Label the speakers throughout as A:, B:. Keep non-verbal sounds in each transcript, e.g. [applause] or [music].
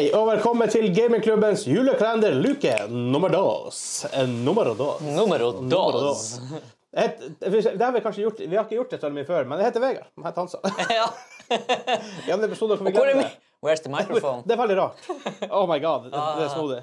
A: velkommen til gamingklubbens julekalender luke nummer dos. Eh, Nummer dos.
B: Numero
A: Nummer [laughs]
B: dos.
A: Et, det har vi kanskje gjort, vi har ikke gjort det så mye før, men jeg heter Vegard. Jeg heter
B: [laughs]
A: Hansa.
B: ja.
A: I andre episoder kan vi
B: Hvor er
A: glemme
B: mi?
A: det.
B: Where's the microphone?
A: Det er veldig rart. Oh my god, det, det er snodig.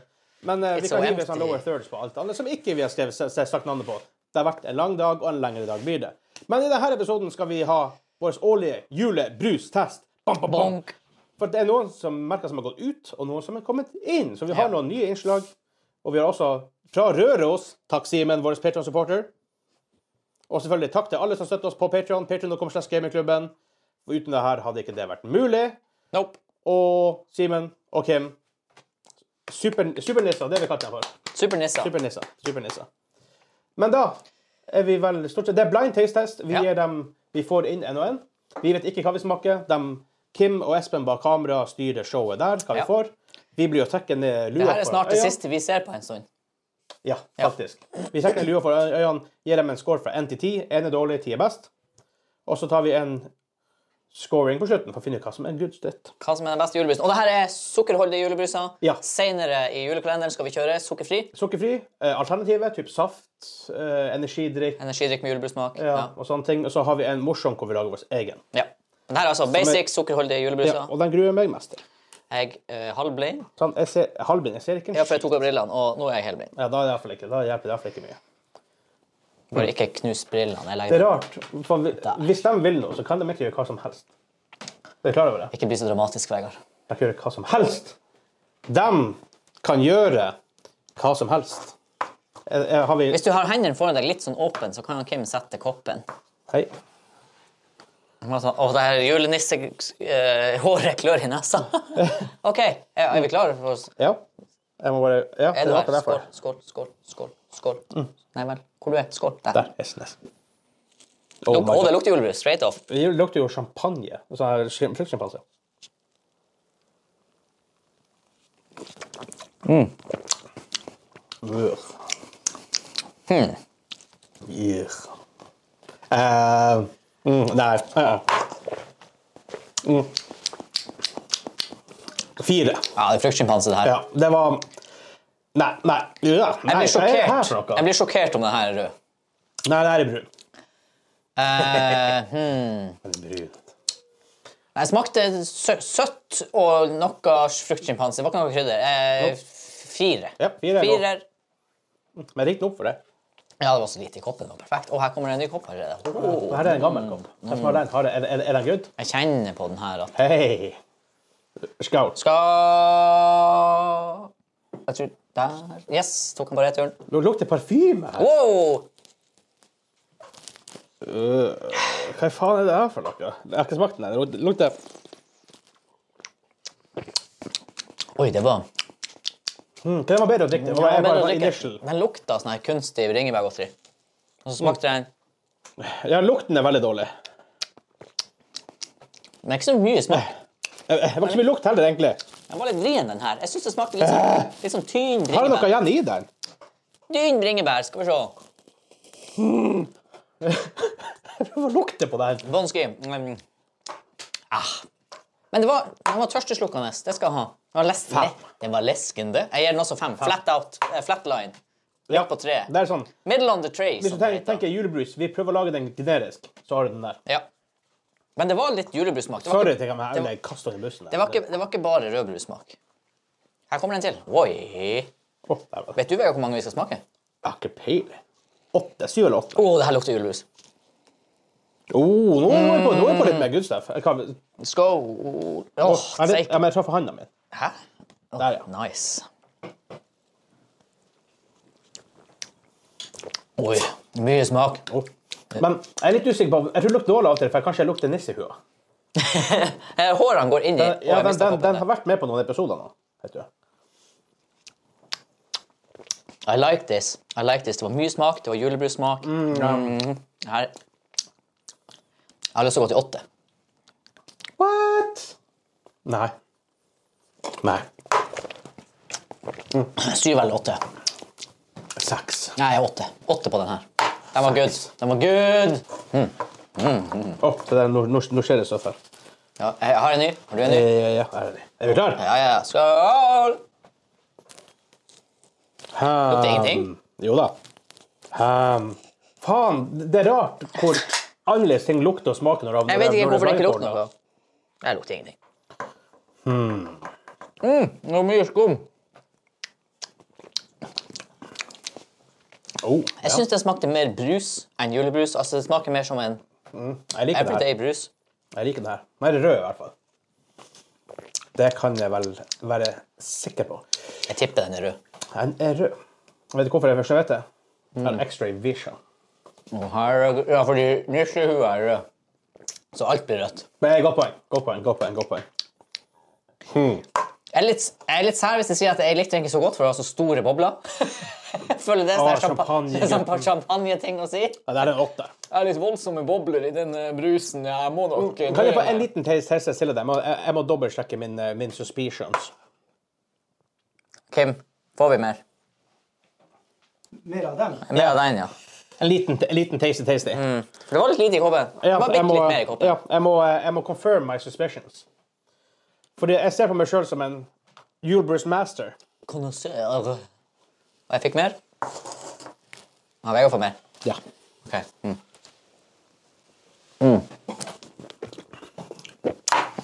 A: Men eh,
B: Ah. It's
A: vi kan
B: so
A: hive sånn
B: empty.
A: lower thirds på alt annet som ikke vi har skrevet, s- s- sagt navnet på. Det har vært en lang dag, og en lengre dag blir det. Men i denne episoden skal vi ha vår årlige julebrustest. Bam, bam, bam.
B: Bonk.
A: For det er noen som merker som har gått ut, og noen som er kommet inn. Så vi har noen nye innslag. Og vi har også fra Røros, takk Simen, vår Patreon-supporter. Og selvfølgelig takk til alle som støtter oss på Patreon. Patreon.com slash gamingklubben. For uten det her hadde ikke det vært mulig.
B: Nope.
A: Og Simen og Kim. Super, supernisser, det har vi kalt dem for.
B: Supernisser.
A: Supernisser. supernisser. Men da er vi vel stort sett Det er blind taste-test. Vi
B: Ja.
A: gir dem Vi får inn en og en. Vi vet ikke hva vi smaker. Dem- Kim og Espen bak kamera styrer showet der, hva vi
B: Ja.
A: får. Vi blir jo trekken ned lua
B: Det her er snart det
A: øynene.
B: siste vi ser på en stund.
A: Ja, faktisk. Vi trekker lua for øynene, gir dem en score fra 1 til 10. 1 er dårlig, 10 er best. Og så tar vi en scoring på slutten for å finne ut hva som er en good stat.
B: Hva som er den beste julebrusen. Og det her er sukkerholdige julebruser.
A: Ja.
B: Senere i julekalenderen skal vi kjøre sukkerfri.
A: Sukkerfri. Eh, alternativet, typ saft, eh, energidrikk
B: Energidrikk med julebrusmak.
A: ja, og sånne ting. Og så har vi en morsom hvor vi lager vår egen.
B: Ja. Men Det her er altså basic sukkerholdige
A: Ja,
B: julebruser.
A: og den gruer jeg meg mest til.
B: Jeg er halvblind.
A: Sånn, jeg ser, halvbind, jeg ser ikke en
B: Ja, for jeg tok av brillene, og nå er jeg helblind.
A: Ja, da, er det i hvert fall ikke, da hjelper det i hvert fall ikke mye.
B: Bare ikke knus brillene.
A: Det
B: Jeg legger
A: er rart. For vi, hvis de vil noe, så kan de ikke gjøre hva som helst. Er du klar over det?
B: Ikke bli så dramatisk, Vegard.
A: De kan gjøre hva som helst. De kan gjøre hva som helst. Eh, eh, Har vi
B: Hvis du har hendene foran deg litt sånn åpen, så kan han Kim sette koppen.
A: Hei.
B: Han var Sånn, Å, det her julenissehåret klør i nesa. [laughs] OK, er, er vi klare for oss?
A: Ja. Jeg må bare Ja,
B: Er du
A: var ikke
B: her? Skål,
A: derfor. Mm.
B: skål, skål. skål, skål. Nei vel. Hvor du er? Skål. Der.
A: Der. Yes, yes. Oh
B: Luk-
A: my
B: Å,
A: God.
B: det lukter julebrus. Straight off.
A: Det lukter jo champagne. Sånn her skim- fruktsjampanse. Mm. Ugh.
B: Hmm.
A: Yeah. Eh, mm, nei. eh. Mm. Fire.
B: Ja, det er fruktsjimpanse, det her.
A: Ja, det var Nei, nei. Ja, nei.
B: Jeg blir
A: hva er det her
B: sjokkert.
A: for noe?
B: Jeg blir sjokkert om det her er rød.
A: Nei, det her er brun. [laughs]
B: Eh, jeg smakte sø søtt og noe fruktsjimpanse. Det var ikke noe krydder. Eh, f- fire.
A: Ja, fire er godt.
B: Firer.
A: Men jeg riktig opp for det.
B: Ja, det var så lite i koppen. Det var perfekt. Og her kommer det en ny kopp allerede.
A: Det her er en gammel kopp. Jeg
B: Mm.
A: smaker den. Har det- Er, er, er den good?
B: Jeg kjenner på den her at
A: Hei! Skål.
B: Skal Jeg tror Der. Yes, tok han bare ett hjørne.
A: Det lukter parfyme her.
B: Wow!
A: Hva faen er det her for noe? Jeg har ikke smakt den. her. Det lukter
B: Oi, det var
A: mm, Den var bedre å drikke. Det var
B: Ja,
A: jeg bare,
B: men den
A: bare
B: drikker-
A: initial.
B: Den lukta sånn her kunstig bringebærgodteri. Og så smakte den
A: Ja, lukten er veldig dårlig.
B: Men ikke så mye smak.
A: Eh, eh, Det var ikke så mye lukt heller, egentlig.
B: Den var litt vrien, den her. Jeg syns det smakte litt sånn, litt sånn tynn
A: Har det
B: bringebær.
A: noe igjen i den?
B: Tynn bringebær, skal vi se.
A: Hva lukter på den?
B: Vanskelig. Mm. Ah. Men det var, den var tørsteslukkende. Det skal jeg ha. Den var, les le- den var leskende. Jeg gir den også fem. Flat out. eh, Flatline.
A: Ja,
B: på tre.
A: Det er sånn.
B: Middle on the tray.
A: Hvis
B: som
A: du
B: det
A: tenker,
B: heter.
A: tenker julebrus, vi prøver å lage den generisk, så har du den der.
B: Ja. Men det var litt julebrussmak. Det, var
A: Sorry til
B: ikke-
A: meg,
B: det
A: jeg
B: var-
A: vil kaste den i bussen.
B: det, var ikke- det var ikke bare rødbrussmak. Her kommer den til. Oi.
A: Åh, der var den.
B: Vet du Vegard, hvor mange vi skal smake?
A: Jeg har ikke peiling. Åtte? Syv eller åtte?
B: Å, det her lukter julebrus. Mm.
A: Oh, nå er vi på, nå er vi på litt mer good stuff. Jeg kan-
B: Skål.
A: Er
B: Åh,
A: det,
B: steik.
A: ja, men jeg traff handa mi.
B: Hæ? Åh,
A: Der, ja.
B: Nice. Oi, mye smak.
A: Men jeg er litt usikker på Jeg tror det lukter dårlig av og til, for jeg kanskje jeg lukter nissehua.
B: Eh, Hårene går inn i Åh,
A: Ja,
B: jeg
A: den,
B: mistet
A: den,
B: koppen
A: den
B: der.
A: har vært med på noen episoder nå. Vet du.
B: I like this. I like this. Det var mye smak. Det var julebrussmak. Mm. Her. Jeg har lyst til å gå til åtte. [clears throat]
A: What? Nei. Nei.
B: Syv eller åtte.
A: Seks.
B: Nei, åtte. Åtte på den her. Den var good. Den var good.
A: Å, det der- nå, nå, nå skjer det stoff her.
B: Ja, jeg har en ny. Har du en
A: Ja,
B: ny?
A: ja, ja, er, det. er vi klar?
B: Ja, ja. ja. Skål!
A: Lukter
B: ingenting?
A: Jo da. Ham. faen, det er rart hvor annerledes ting lukter og smaker når det
B: Jeg
A: når
B: vet ikke
A: det er
B: hvorfor det ikke lukter
A: blankornet.
B: noe. Det lukter ingenting.
A: Hmm.
B: Mm, det var mye skum.
A: Oh,
B: Jeg syns det smakte mer brus enn julebrus. Altså, Det smaker mer som en
A: jeg liker det her.
B: everyday-brus.
A: Jeg liker den her. Den er rød, i hvert fall. Det kan jeg vel være sikker på.
B: Jeg tipper den er rød.
A: Den er rød. Vet du hvorfor jeg først vet det? Det
B: Mm.
A: er en X-ray vision.
B: Og Her, er- ja, fordi nisjehua er rød. Så alt blir rødt.
A: Men eh, godt poeng. Godt poeng, godt poeng, godt poeng.
B: Jeg er litt, jeg er litt sær hvis jeg sier at jeg likte den ikke så godt, for det var så store bobler. [laughs] Jeg føler det er
A: Å,
B: sånn champagne-
A: champagne.
B: sånn champagne-ting å si.
A: Ja, der er en åtte.
B: Det er litt voldsomme bobler i den eh, brusen. Jeg må nok
A: Mm,
B: eh,
A: Kan jeg få en liten test test til deg? Jeg må, jeg jeg må dobbeltsjekke min, eh, min suspicions.
B: Kim, får vi mer?
C: Mer av den.
B: Mer av den, ja.
A: En liten, en liten tasty tasty.
B: For det var litt lite i koppen.
A: Ja,
B: det var
A: jeg
B: Mm. bitte
A: må,
B: litt mer i koppen.
A: ja, jeg må, eh, jeg må confirm my suspicions. Fordi jeg ser på meg sjøl som en julebrus master.
B: Kondensør. altså? Og jeg fikk mer? Ja, Vegard får mer.
A: Ja.
B: Ok. Mm.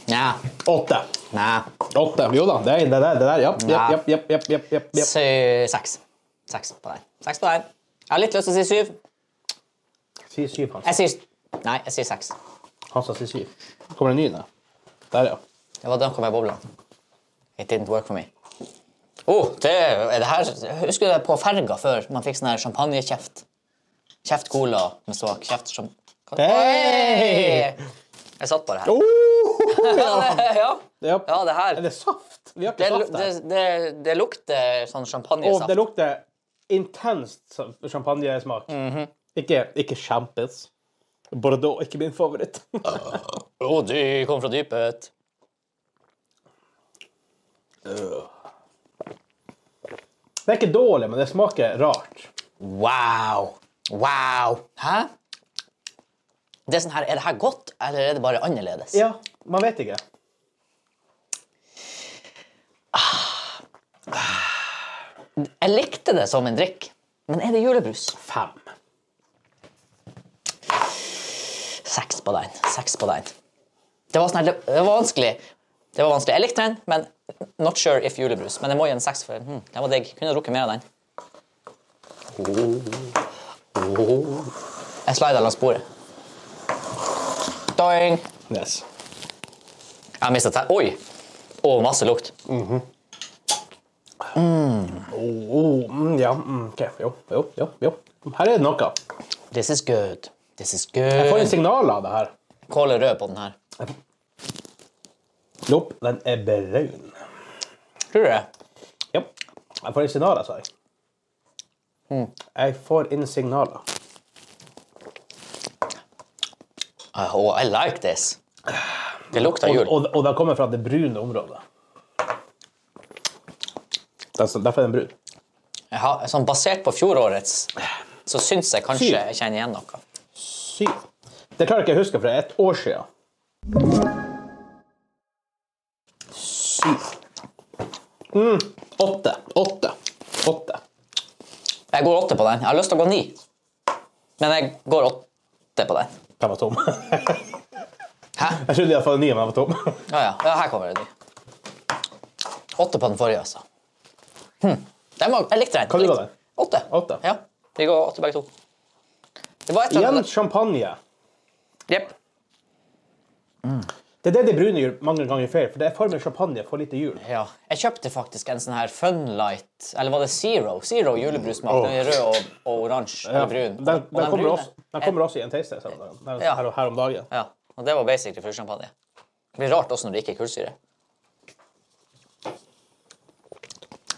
B: Ja.
A: Åtte.
B: Nei.
A: Åtte. Jo da, det er det der. Det der. Japp,
B: Ja.
A: japp, japp, japp, japp, japp, japp.
B: Sy seks. Seks på den. Seks på den. Jeg har litt lyst til å si syv.
A: Si syv, Hans.
B: Jeg sier Nei, jeg sier seks.
A: Hans sa si syv. Kommer det en ny, da? Der, ja.
B: Det var dunka med bobla. It didn't work for me. Oh, det, er det her, husker du det på ferga før man fikk sånn her champagnekjeft? Kjeft cola med svak kjeft som
A: Hey!
B: Jeg satt bare her.
A: Oh,
B: Ja, det, ja.
A: ja.
B: ja, det her
A: Er
B: det,
A: det saft? Vi har ikke saft
B: det,
A: der.
B: det, det lukter sånn
A: Og det
B: champagnesaft.
A: lukter intenst sam- champagnesmak.
B: Mhm.
A: Ikke, ikke champis. Bordeaux, ikke min favoritt. [laughs]
B: Å, Oh, du kom fra dypet.
A: Det er ikke dårlig, men det smaker rart.
B: Wow! Wow! Hæ? Det er, sånn her, er det her godt, eller er det bare annerledes?
A: Ja, man vet ikke.
B: Jeg likte det som en drikk, men er det julebrus?
A: Fem.
B: Seks på den. Seks på den. Det var, sånn her, det, det var vanskelig. Det var vanskelig. Jeg likte den, men not sure if julebrus. Men jeg må gi en seks for den. Hm, den var digg. Kunne drukket mer av den. Jeg slida langs bordet. Doing.
A: Yes.
B: Jeg mista tær. Oi! Og masse lukt.
A: Oh, mm, ja, mm, ok. Jo, jo, jo, jo. Her er det noe.
B: This is good. This is
A: Jeg får en
B: good.
A: signal av det her.
B: Kål er rød på den her.
A: Nope, den er brun.
B: Tror du det?
A: Ja. Jeg får en signal, sa jeg.
B: Mm.
A: Jeg får inn signaler.
B: Oh, I like this. Det lukter jul.
A: Og, og den kommer fra det brune området. Det er så- Derfor er den brun.
B: Jeg har, sånn basert på fjorårets, så syns jeg kanskje
A: Syv.
B: jeg kjenner igjen noe.
A: Syv. Det klarer jeg ikke å huske fra et år siden. Syv. Mm. Åtte. Åtte. Åtte.
B: Jeg går åtte på den. Jeg har lyst til å gå ni, men jeg går åtte på den.
A: Den var tom. [laughs]
B: Hæ?
A: Jeg trodde jeg hadde fått en ny, men den var tom.
B: Ja, ja. ja her kommer det ny. Åtte på den forrige, altså. Hm. Den var, jeg likte den.
A: Hva du
B: Likte-
A: ga den?
B: Åtte.
A: Åtte.
B: Ja. Vi går åtte begge to. Det var et eller
A: Igjen
B: annet
A: champagne.
B: Jepp.
A: Det er det de brune gjør mange ganger feil, for det er for mye champagne for lite jul.
B: Ja. Jeg kjøpte faktisk en sånn her Funlight, eller var det Zero? Zero julebrussmak.
A: Åh.
B: Den er rød og, og oransje og brun.
A: Den,
B: Og-
A: den,
B: og den
A: kommer
B: brune-
A: også, den kommer også i en taste test her om dagen. Den er
B: Ja.
A: her, her om dagen.
B: Ja, og det var basically fuglesjampanje. Det blir rart også når det ikke er kullsyre.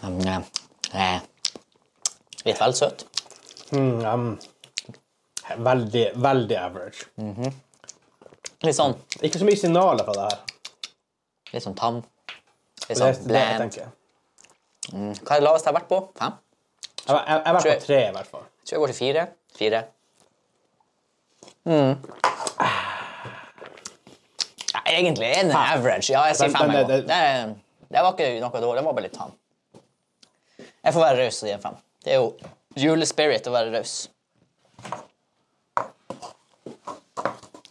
B: Mm, ja. Eh, Litt vel søt.
A: Mm, um, veldig, veldig average.
B: Litt sånn,
A: Ikke så mye signaler fra det her.
B: litt sånn tam. Litt
A: Det er
B: sånn
A: det jeg
B: bland.
A: tenker.
B: Hva er det laveste jeg har vært på? Fem?
A: Jeg jeg- jeg har vært
B: Tror jeg-
A: på tre, i hvert fall.
B: Jeg tror jeg går til fire. Fire. Mm. Nei, egentlig er den average. Ja, jeg sier
A: Den-
B: fem.
A: den-
B: jeg går.
A: den-
B: Det, det var ikke noe dårlig, det var bare litt tam. Jeg får være raus og gi en fem. Det er jo julespirit å være raus.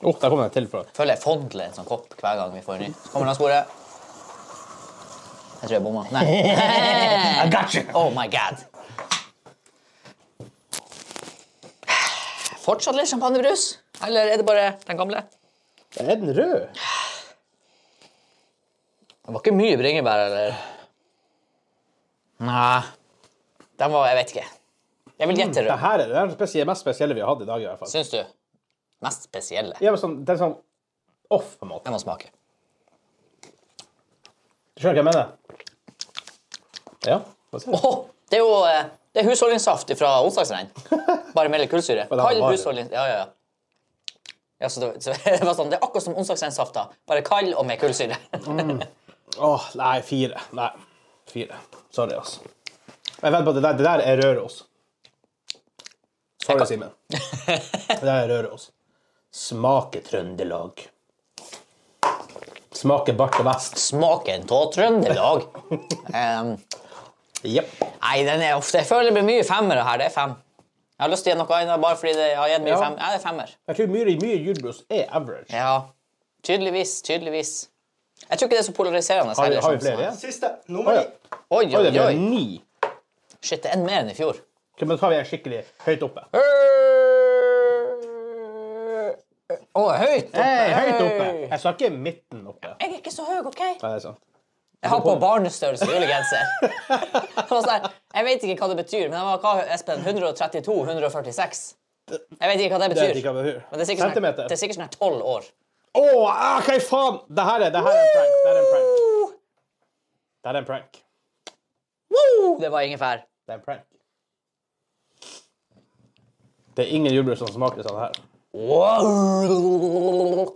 A: Åh, der kom den til fra.
B: Føler jeg fondler en sånn kopp hver gang vi får en ny. Så kommer den av sporet. Jeg tror jeg bomma. Nei.
A: [laughs]
B: I got you. Oh my god. Fortsatt litt champagnebrus? Eller er det bare den gamle?
A: Er den rød?
B: Det var ikke mye bringebær, eller? Nei. Den var Jeg vet ikke. Jeg vil gjette
A: Det
B: rød.
A: her er det er den spesie- mest spesielle vi har hatt i dag, i hvert fall.
B: Syns du? Mest spesielle.
A: Ja, men sånn, den er sånn off, på en måte.
B: Jeg må smake.
A: Skjønner du hva jeg mener? Ja. hva sier du?
B: Åh, det er jo eh, det er husholdningssaft fra onsdagsregn. Bare med litt
A: [laughs]
B: kullsyre.
A: det var
B: Kald
A: bare-
B: husholdnings... Ja, ja, ja. Ja, så det, så [laughs] det var sånn, det er akkurat som onsdagsregnsafta, bare kald og med kullsyre. [laughs]
A: Åh, nei, fire. Nei, fire. Sorry, altså. Jeg vet på at det der, det der er Røros. Sorry, Simen. Det der er Røros. Smaker Trøndelag. Smaker bart og vest.
B: Smaken av Trøndelag. Um,
A: Jepp.
B: nei, den er ofte, jeg føler det blir mye femmere her. Det er fem. Jeg har lyst til å gi noe annet bare fordi det har gitt mye
A: Ja.
B: fem. Ja, det er femmer.
A: Jeg tror mye, mye julebrus er average.
B: Ja, tydeligvis, tydeligvis. Jeg tror ikke det er så polariserende.
A: Har vi,
B: heller,
A: har vi
B: sånn som-
A: flere igjen?
C: Siste.
A: Å
C: Nummer
A: ja.
C: ni.
B: Oi,
A: Oi, det
B: oi,
A: ble
B: oi.
A: ni.
B: Shit, det er en mer enn i fjor.
A: Ok, Men da tar vi en skikkelig høyt oppe.
B: Å, høyt oppe!
A: Hei, høyt oppe.
B: Hey.
A: Jeg sa ikke midten oppe. Nei,
B: Jeg er ikke så høy, OK?
A: det er sant.
B: Jeg har på barnestørrelse
A: [laughs]
B: julegenser. Det var sånn her, jeg vet ikke hva det betyr, men jeg var hva, Espen, 132-146. Jeg vet ikke hva det
A: Det vet
B: betyr.
A: ikke hva det betyr.
B: Men det er sikkert sånn her-
A: Centimeter.
B: det er sikkert sånn her 12 år.
A: Å, ah, hva i faen? Det her er, det her er en prank. Det her er en prank. Det her er en prank.
B: Woo! Det var ingefær.
A: Det er en prank. Det er ingen julebrus som smaker sånn her.
B: Wow!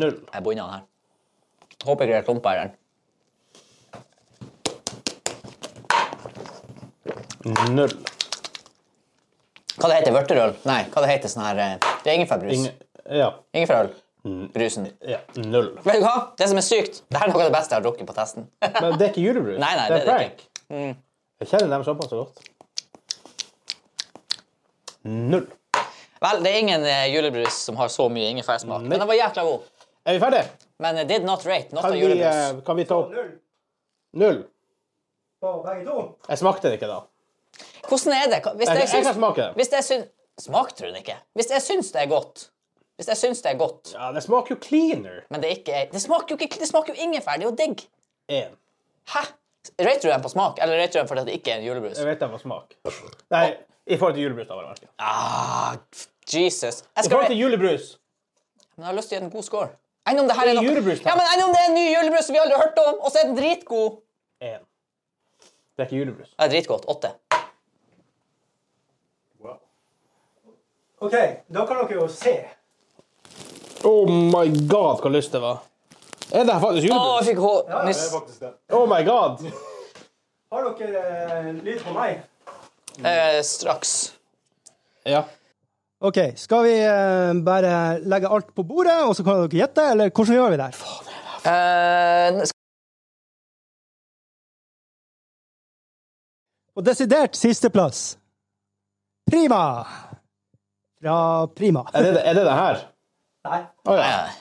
A: Null.
B: Jeg bunner den her. Håper ikke det er klumper i den.
A: Null.
B: Hva det heter vørterøl? Nei, hva det heter sånn her eh, Det er ingefærbrus.
A: Ingen, ja.
B: Ingefærøl.
A: Mm.
B: Brusen.
A: ja. Null.
B: Vet du hva? Det som er sykt, det her er noe av det beste jeg har drukket på testen. [laughs]
A: Men det er ikke julebrus.
B: Nei, nei,
A: det er
B: det Mm. er det
A: prank. Jeg kjenner dem såpass godt. Null.
B: Vel, det er ingen eh, julebrus som har så mye ingefærsmak,
A: Mm,
B: men den var jækla god.
A: Er vi ferdige?
B: Men eh, did not rate, not a
A: Kan vi,
B: julebrus.
A: eh, kan vi ta
C: Og
A: opp
C: null
A: Null.
C: på begge to.
A: Jeg smakte det ikke da.
B: Hvordan er det? Hva- Hvis
A: Jeg,
B: jeg
A: jeg kan
B: syns,
A: smake det.
B: hvis jeg syns Smakte du den ikke? Hvis jeg syns det er godt Hvis jeg syns det er godt,
A: Ja, det smaker jo cleaner.
B: men det ikke er Det smaker jo, ikke, det smaker jo ingefær, det er jo digg.
A: En.
B: Hæ? Rater du den på smak, eller rater du den fordi at det ikke er en julebrus?
A: Jeg vet det var smak. Nei, i forhold til julebrus, da var det vanskelig. I
B: Ah, Jesus. Jeg skal
A: forhold til julebrus
B: Men jeg har lyst til å gi den en god score. Enn om det her er
A: Det er
B: noe...
A: julebrus, da.
B: Ja, men enn om det er en ny julebrus som vi aldri har hørt om, og så er den dritgod.
A: en. Det er ikke julebrus.
B: Det er dritgodt. Åtte.
C: OK, da kan dere jo se.
A: Oh my god, hva lyst det var. Er det her faktisk
B: Å, jeg
A: julebrus?
B: fikk hå...
C: ja,
B: Nyss.
D: faktisk det.
A: Oh my god.
C: Har dere eh, lyd på meg?
B: Eh, straks.
A: Ja.
C: OK, skal vi eh, bare legge alt på bordet, og så kan dere gjette, eller hvordan gjør vi det?
B: Eh, sk-
C: Og desidert sisteplass Prima! Fra Prima.
A: Er det er det, det her?
C: Nei.
A: Å ja.
B: eh,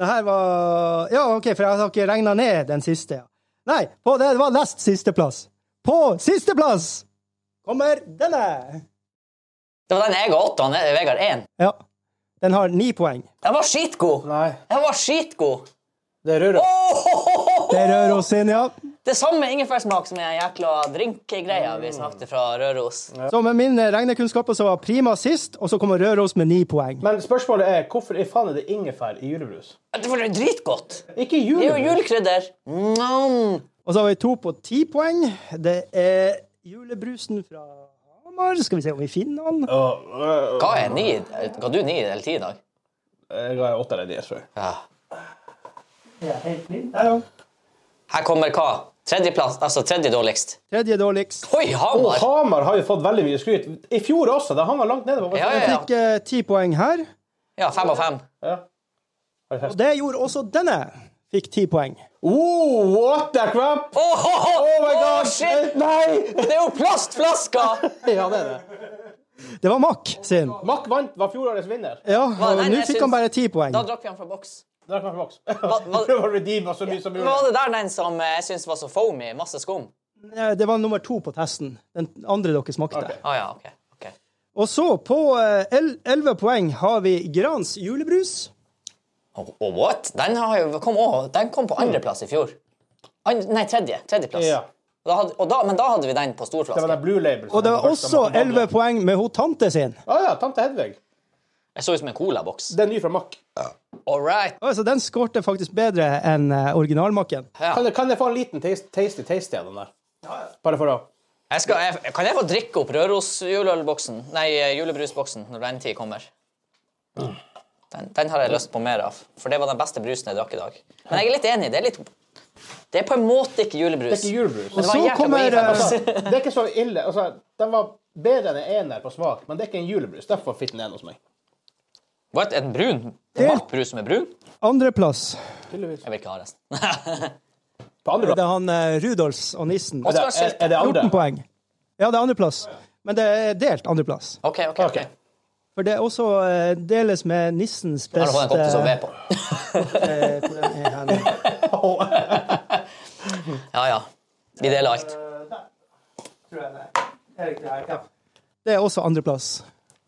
C: Det her var Ja, OK, for jeg har ikke regna ned den siste. ja. Nei, på det, det var nest sisteplass. På sisteplass kommer denne.
B: det var den jeg ga åtte, og han er- Vegard én.
C: Ja. Den har ni poeng.
B: Den var skitgod!
A: Nei,
B: Den var skitgod!
A: det er rødrød.
B: Åh!
C: Det er Røros sin, ja.
B: Det er samme ingefærsmak som den jækla drinkgreia
A: Mm.
B: vi snakket fra Røros.
C: Så med mine regnekunnskaper så var Prima sist, og så kommer Røros med ni poeng.
A: Men spørsmålet er hvorfor i faen er det ingefær i julebrus?
B: Det var jo dritgodt!
A: Ikke
B: Det er jo
A: julebrus.
B: julekrydder. Mm.
C: Og så har vi to på ti poeng. Det er julebrusen fra Hamar. Skal vi se om vi finner den.
A: Å, øh,
B: Ga jeg ni? Ga du ni eller ti i dag?
A: Jeg ga en åtte eller en nier, tror jeg.
B: Ja.
C: Der, ja.
B: Her kommer hva? Tredjeplass, altså tredje dårligst.
C: Tredje dårligst.
B: Oi,
A: Og
B: Hamar!
A: Hamar har jo fått veldig mye skryt. I fjor også. Da han var langt nede. Var
B: Ja, ja, ja.
C: Fikk eh, ti poeng her.
B: ja, fem av fem.
A: ja.
C: Og det gjorde også denne. Fikk ti poeng.
A: Oh, what the crap?
B: Åh, åh,
A: Oh my
B: åh,
A: god!
B: shit!
A: [laughs] Nei!
B: Det er jo
A: [laughs]
B: plastflasker!
A: Ja, det er det.
C: Det var Mack sin.
A: Mack vant, var fjorårets vinner.
C: Ja,
B: Hva,
C: og
B: nei,
C: nå
B: jeg
C: fikk
B: syns-
C: han bare ti poeng.
B: Da drakk vi han fra boks.
A: Der kan vi boks. [laughs]
B: hva-
A: Prøv å redeeme så mye som
B: Men
A: mulig.
B: var det der den som eh, jeg syns var så foamy? Masse skum?
C: Eh, Det var nummer to på testen. Den andre dere smakte.
A: Ok.
B: Å ja, OK. ok.
C: Og så, på eh, elleve poeng, har vi Grans julebrus.
B: Og og what? Den, har jo, kom, også- den kom på andreplass i fjor. And, nei, tredje. Tredjeplass.
A: Mm. Ja.
B: Og Da hadde, og da, men da hadde vi den på
A: Det var
B: storflaske.
A: den Blue Label. som
C: Og det
A: var
C: var
A: den første
C: også
A: man hadde.
C: elleve poeng med hun tante sin.
A: Å ja, tante Hedvig.
B: Jeg så ut som en colaboks.
A: Det er ny fra Mack.
B: All right.
C: Altså, den skårte faktisk bedre enn eh, originalmakken.
A: Kan, jeg- kan jeg få en liten taste- tasty taste av den der? Bare for å
B: Jeg skal, jeg, kan jeg få drikke opp Røros-juleølboksen? Nei, eh, julebrusboksen når den tid kommer. Den, den har jeg lyst på mer av, for det var den beste brusen jeg drakk i dag. Men jeg er litt enig. Det er litt Det er på en måte ikke
A: Det
B: julebrus.
A: er ikke julebrus.
B: Men det var
C: Så
B: jækla
C: kommer,
B: god i- [laughs]
C: eh,
A: Altså, Det er ikke så ille. Altså, den var bedre enn en ener på smak, men det er ikke en julebrus. Derfor fikk den en hos meg.
B: What? Er den brun?
C: Det-
B: Brus som er brun?
C: Andreplass.
A: Tydeligvis.
B: Jeg vil ikke ha resten. [laughs]
A: På andre
C: Det er han eh, Rudolfs og nissen.
A: Er det, er, er det
C: 14
A: andre?
C: poeng. Ja, det er andreplass. Men det er delt andreplass.
B: OK, OK. ok.
A: Ok.
C: For det er også eh, deles med nissens
B: Har du fått en kopp til å sove
C: beste
B: på?
C: Eh, [laughs] hvor er den hen?
B: Ja, ja. Vi deler alt.
C: Det er også andreplass.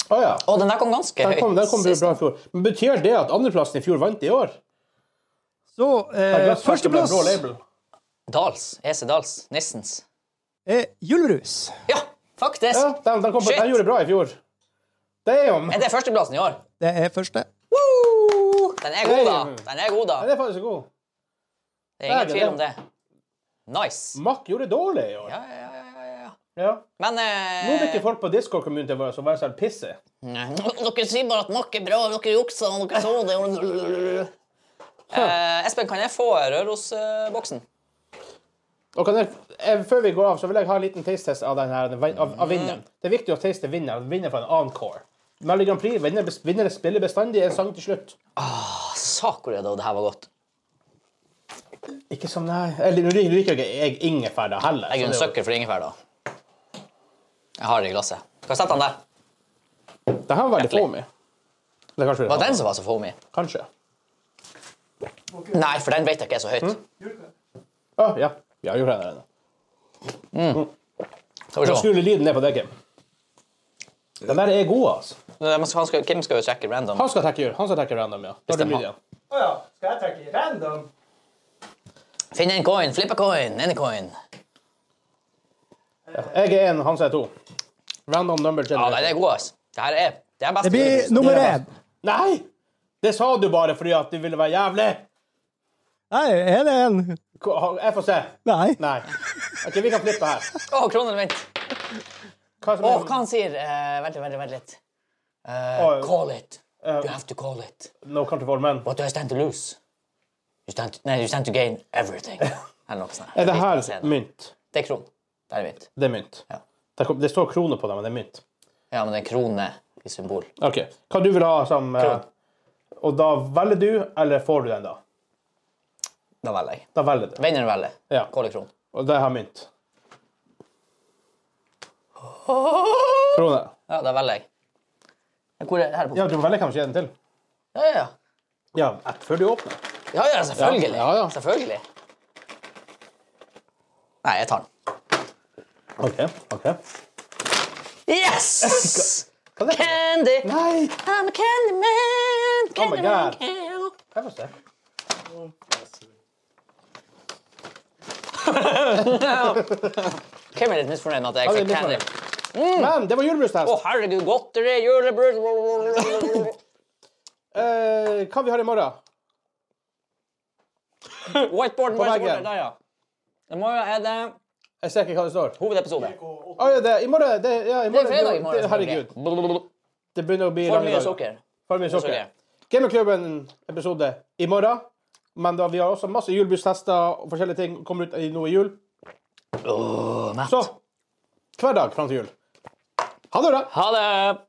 A: Å ja.
B: Å, den der kom ganske
A: Den
B: høyt.
A: kom, den kom
B: sist.
A: bra i fjor. Men Betyr det at andreplassen i fjor vant i år?
C: Så eh, førsteplass
A: Blå label.
B: Dals. EC Dals. Nissens.
C: er julebrus.
B: Ja, faktisk.
A: Ja, den, den, kom på,
B: Shit.
A: den gjorde det bra i fjor. Damn!
B: Er det førsteplassen i år?
C: Det er første.
B: Woo! Den er god, da.
A: Hey.
B: Den er god, da.
A: Den er faktisk god.
B: Det er ingen
A: det er
B: tvil
A: det.
B: om det. Nice.
A: Mack gjorde det dårlig i år.
B: Ja, ja, ja, ja, ja.
A: Ja.
B: Men
A: Nå
B: eh,
A: drikker folk på Discord-communityen vår som hver selv pisser.
B: nei. eh, [laughs] Dere sier bare at makk er bra, og dere juksa, og dere så det og- eh, Espen, kan jeg få eh, Røros-boksen?
A: Og kan jeg, jeg, før vi går av, så vil jeg ha en liten taste-test av, den her, av, av vinneren. Det er viktig å taste vinneren. Vinner fra en encore. Melodi Grand Prix vinner, vinner spiller bestandig en sang til slutt.
B: Ah, Sakura, da. Det her var godt.
A: Ikke som nei Eller nå liker- liker ikke jeg ingefær da heller.
B: Jeg er jo en
A: så det
B: sucker for ingefær, da. Jeg har det i glasset. Kan jeg sette den der?
A: var- Det her var veldig foamy. Det er kanskje
B: Var
A: det.
B: den som var så foamy?
A: Kanskje.
B: Nei, for den vet jeg ikke er så høyt.
A: Å, ja. Ja, gjør det der.
B: Skal vi se.
A: Skru lyden ned på deg, Kim. Den der er god, altså.
B: Nei, men han skal, Kim skal jo sjekke random.
A: Han skal trekke hjul. Han skal trekke random, ja. Da er det
B: Bestemmer.
A: lyd igjen.
C: Å ja. Skal jeg trekke random?
B: Finn en coin, flipp en coin, any coin.
A: Jeg er én, han er to. Random number
B: Ja,
A: generator.
B: den er god, ass. Det her er Det er best.
C: Det blir nummer én.
A: Nei! Det sa du bare fordi at du ville være jævlig.
C: Nei, er det en?
A: Ko- ha- Jeg får se.
C: Nei.
A: Nei. Ok, Vi kan flippe her.
B: Å, kroner, vent.
A: Hva som
B: Å,
A: er,
B: hva han sier? Eh, vent litt, vent litt, vent litt. Eh,
A: Å,
B: call it. You have to call it.
A: No country for men.
B: What do I stand to lose? You stand to, nei, you stand to gain
A: [laughs]
B: everything. Eller noe sånt.
A: Er det
B: Jeg
A: her
B: vet ikke hva jeg sier.
A: mynt?
B: Det er kron. Det er mynt.
A: Det er mynt.
B: Ja.
A: Det, kom, det står kroner på det, men det er mynt.
B: Ja, men det er en krone i symbol.
A: Ok, Hva du vil ha som eh,
B: Kron.
A: Og da velger du, eller får du den, da?
B: Da velger jeg.
A: Da velger du.
B: Vinneren velger.
A: Ja.
B: Call it
A: [laughs]
B: kron.
A: Og det har mynt. Kroner.
B: Ja, da velger jeg. Men Hvor er det her på?
A: Ja, du må velge kanskje en til.
B: Ja, ja, ja.
A: Ja, et før du åpner.
B: Ja, ja, selvfølgelig.
A: Ja, ja.
B: Selvfølgelig. Nei, jeg tar den.
A: OK. ok. [laughs]
B: Yes!
A: Hva er det?
B: Candy!
A: Nei!
B: I'm a candy
A: Oh
B: man!
A: my
B: Candy man,
A: God.
B: cow.
A: Jeg får se.
B: Hvem er litt misfornøyd med at jeg
A: Ja, det er
B: fikk candy?
A: litt
B: Mm.
A: Men det var julebrustest.
B: Å, herregud, godteri, julebrus
A: [laughs] Eh, hva vi har i morgen?
B: Whiteboard,
A: På
B: whiteboard,
A: veggen.
B: der, ja. I morgen er det
A: Jeg ser ikke hva det står.
B: hovedepisode.
A: Å, ja, det, I morgen det, ja, i
B: Det er
A: morgen,
B: fredag i morgen.
A: det- Herregud.
B: selvfølgelig.
A: Det begynner å bli
B: For
A: lange
B: mye
A: dager.
B: sukker.
A: For mye sukker.
B: sukker.
A: Gamingklubben-episode i morgen. Men da, vi har også masse julebrustester og forskjellige ting kommer ut i nå i jul.
B: Åh, Matt.
A: Så hver dag fram til jul. Ha det bra.
B: Ha det!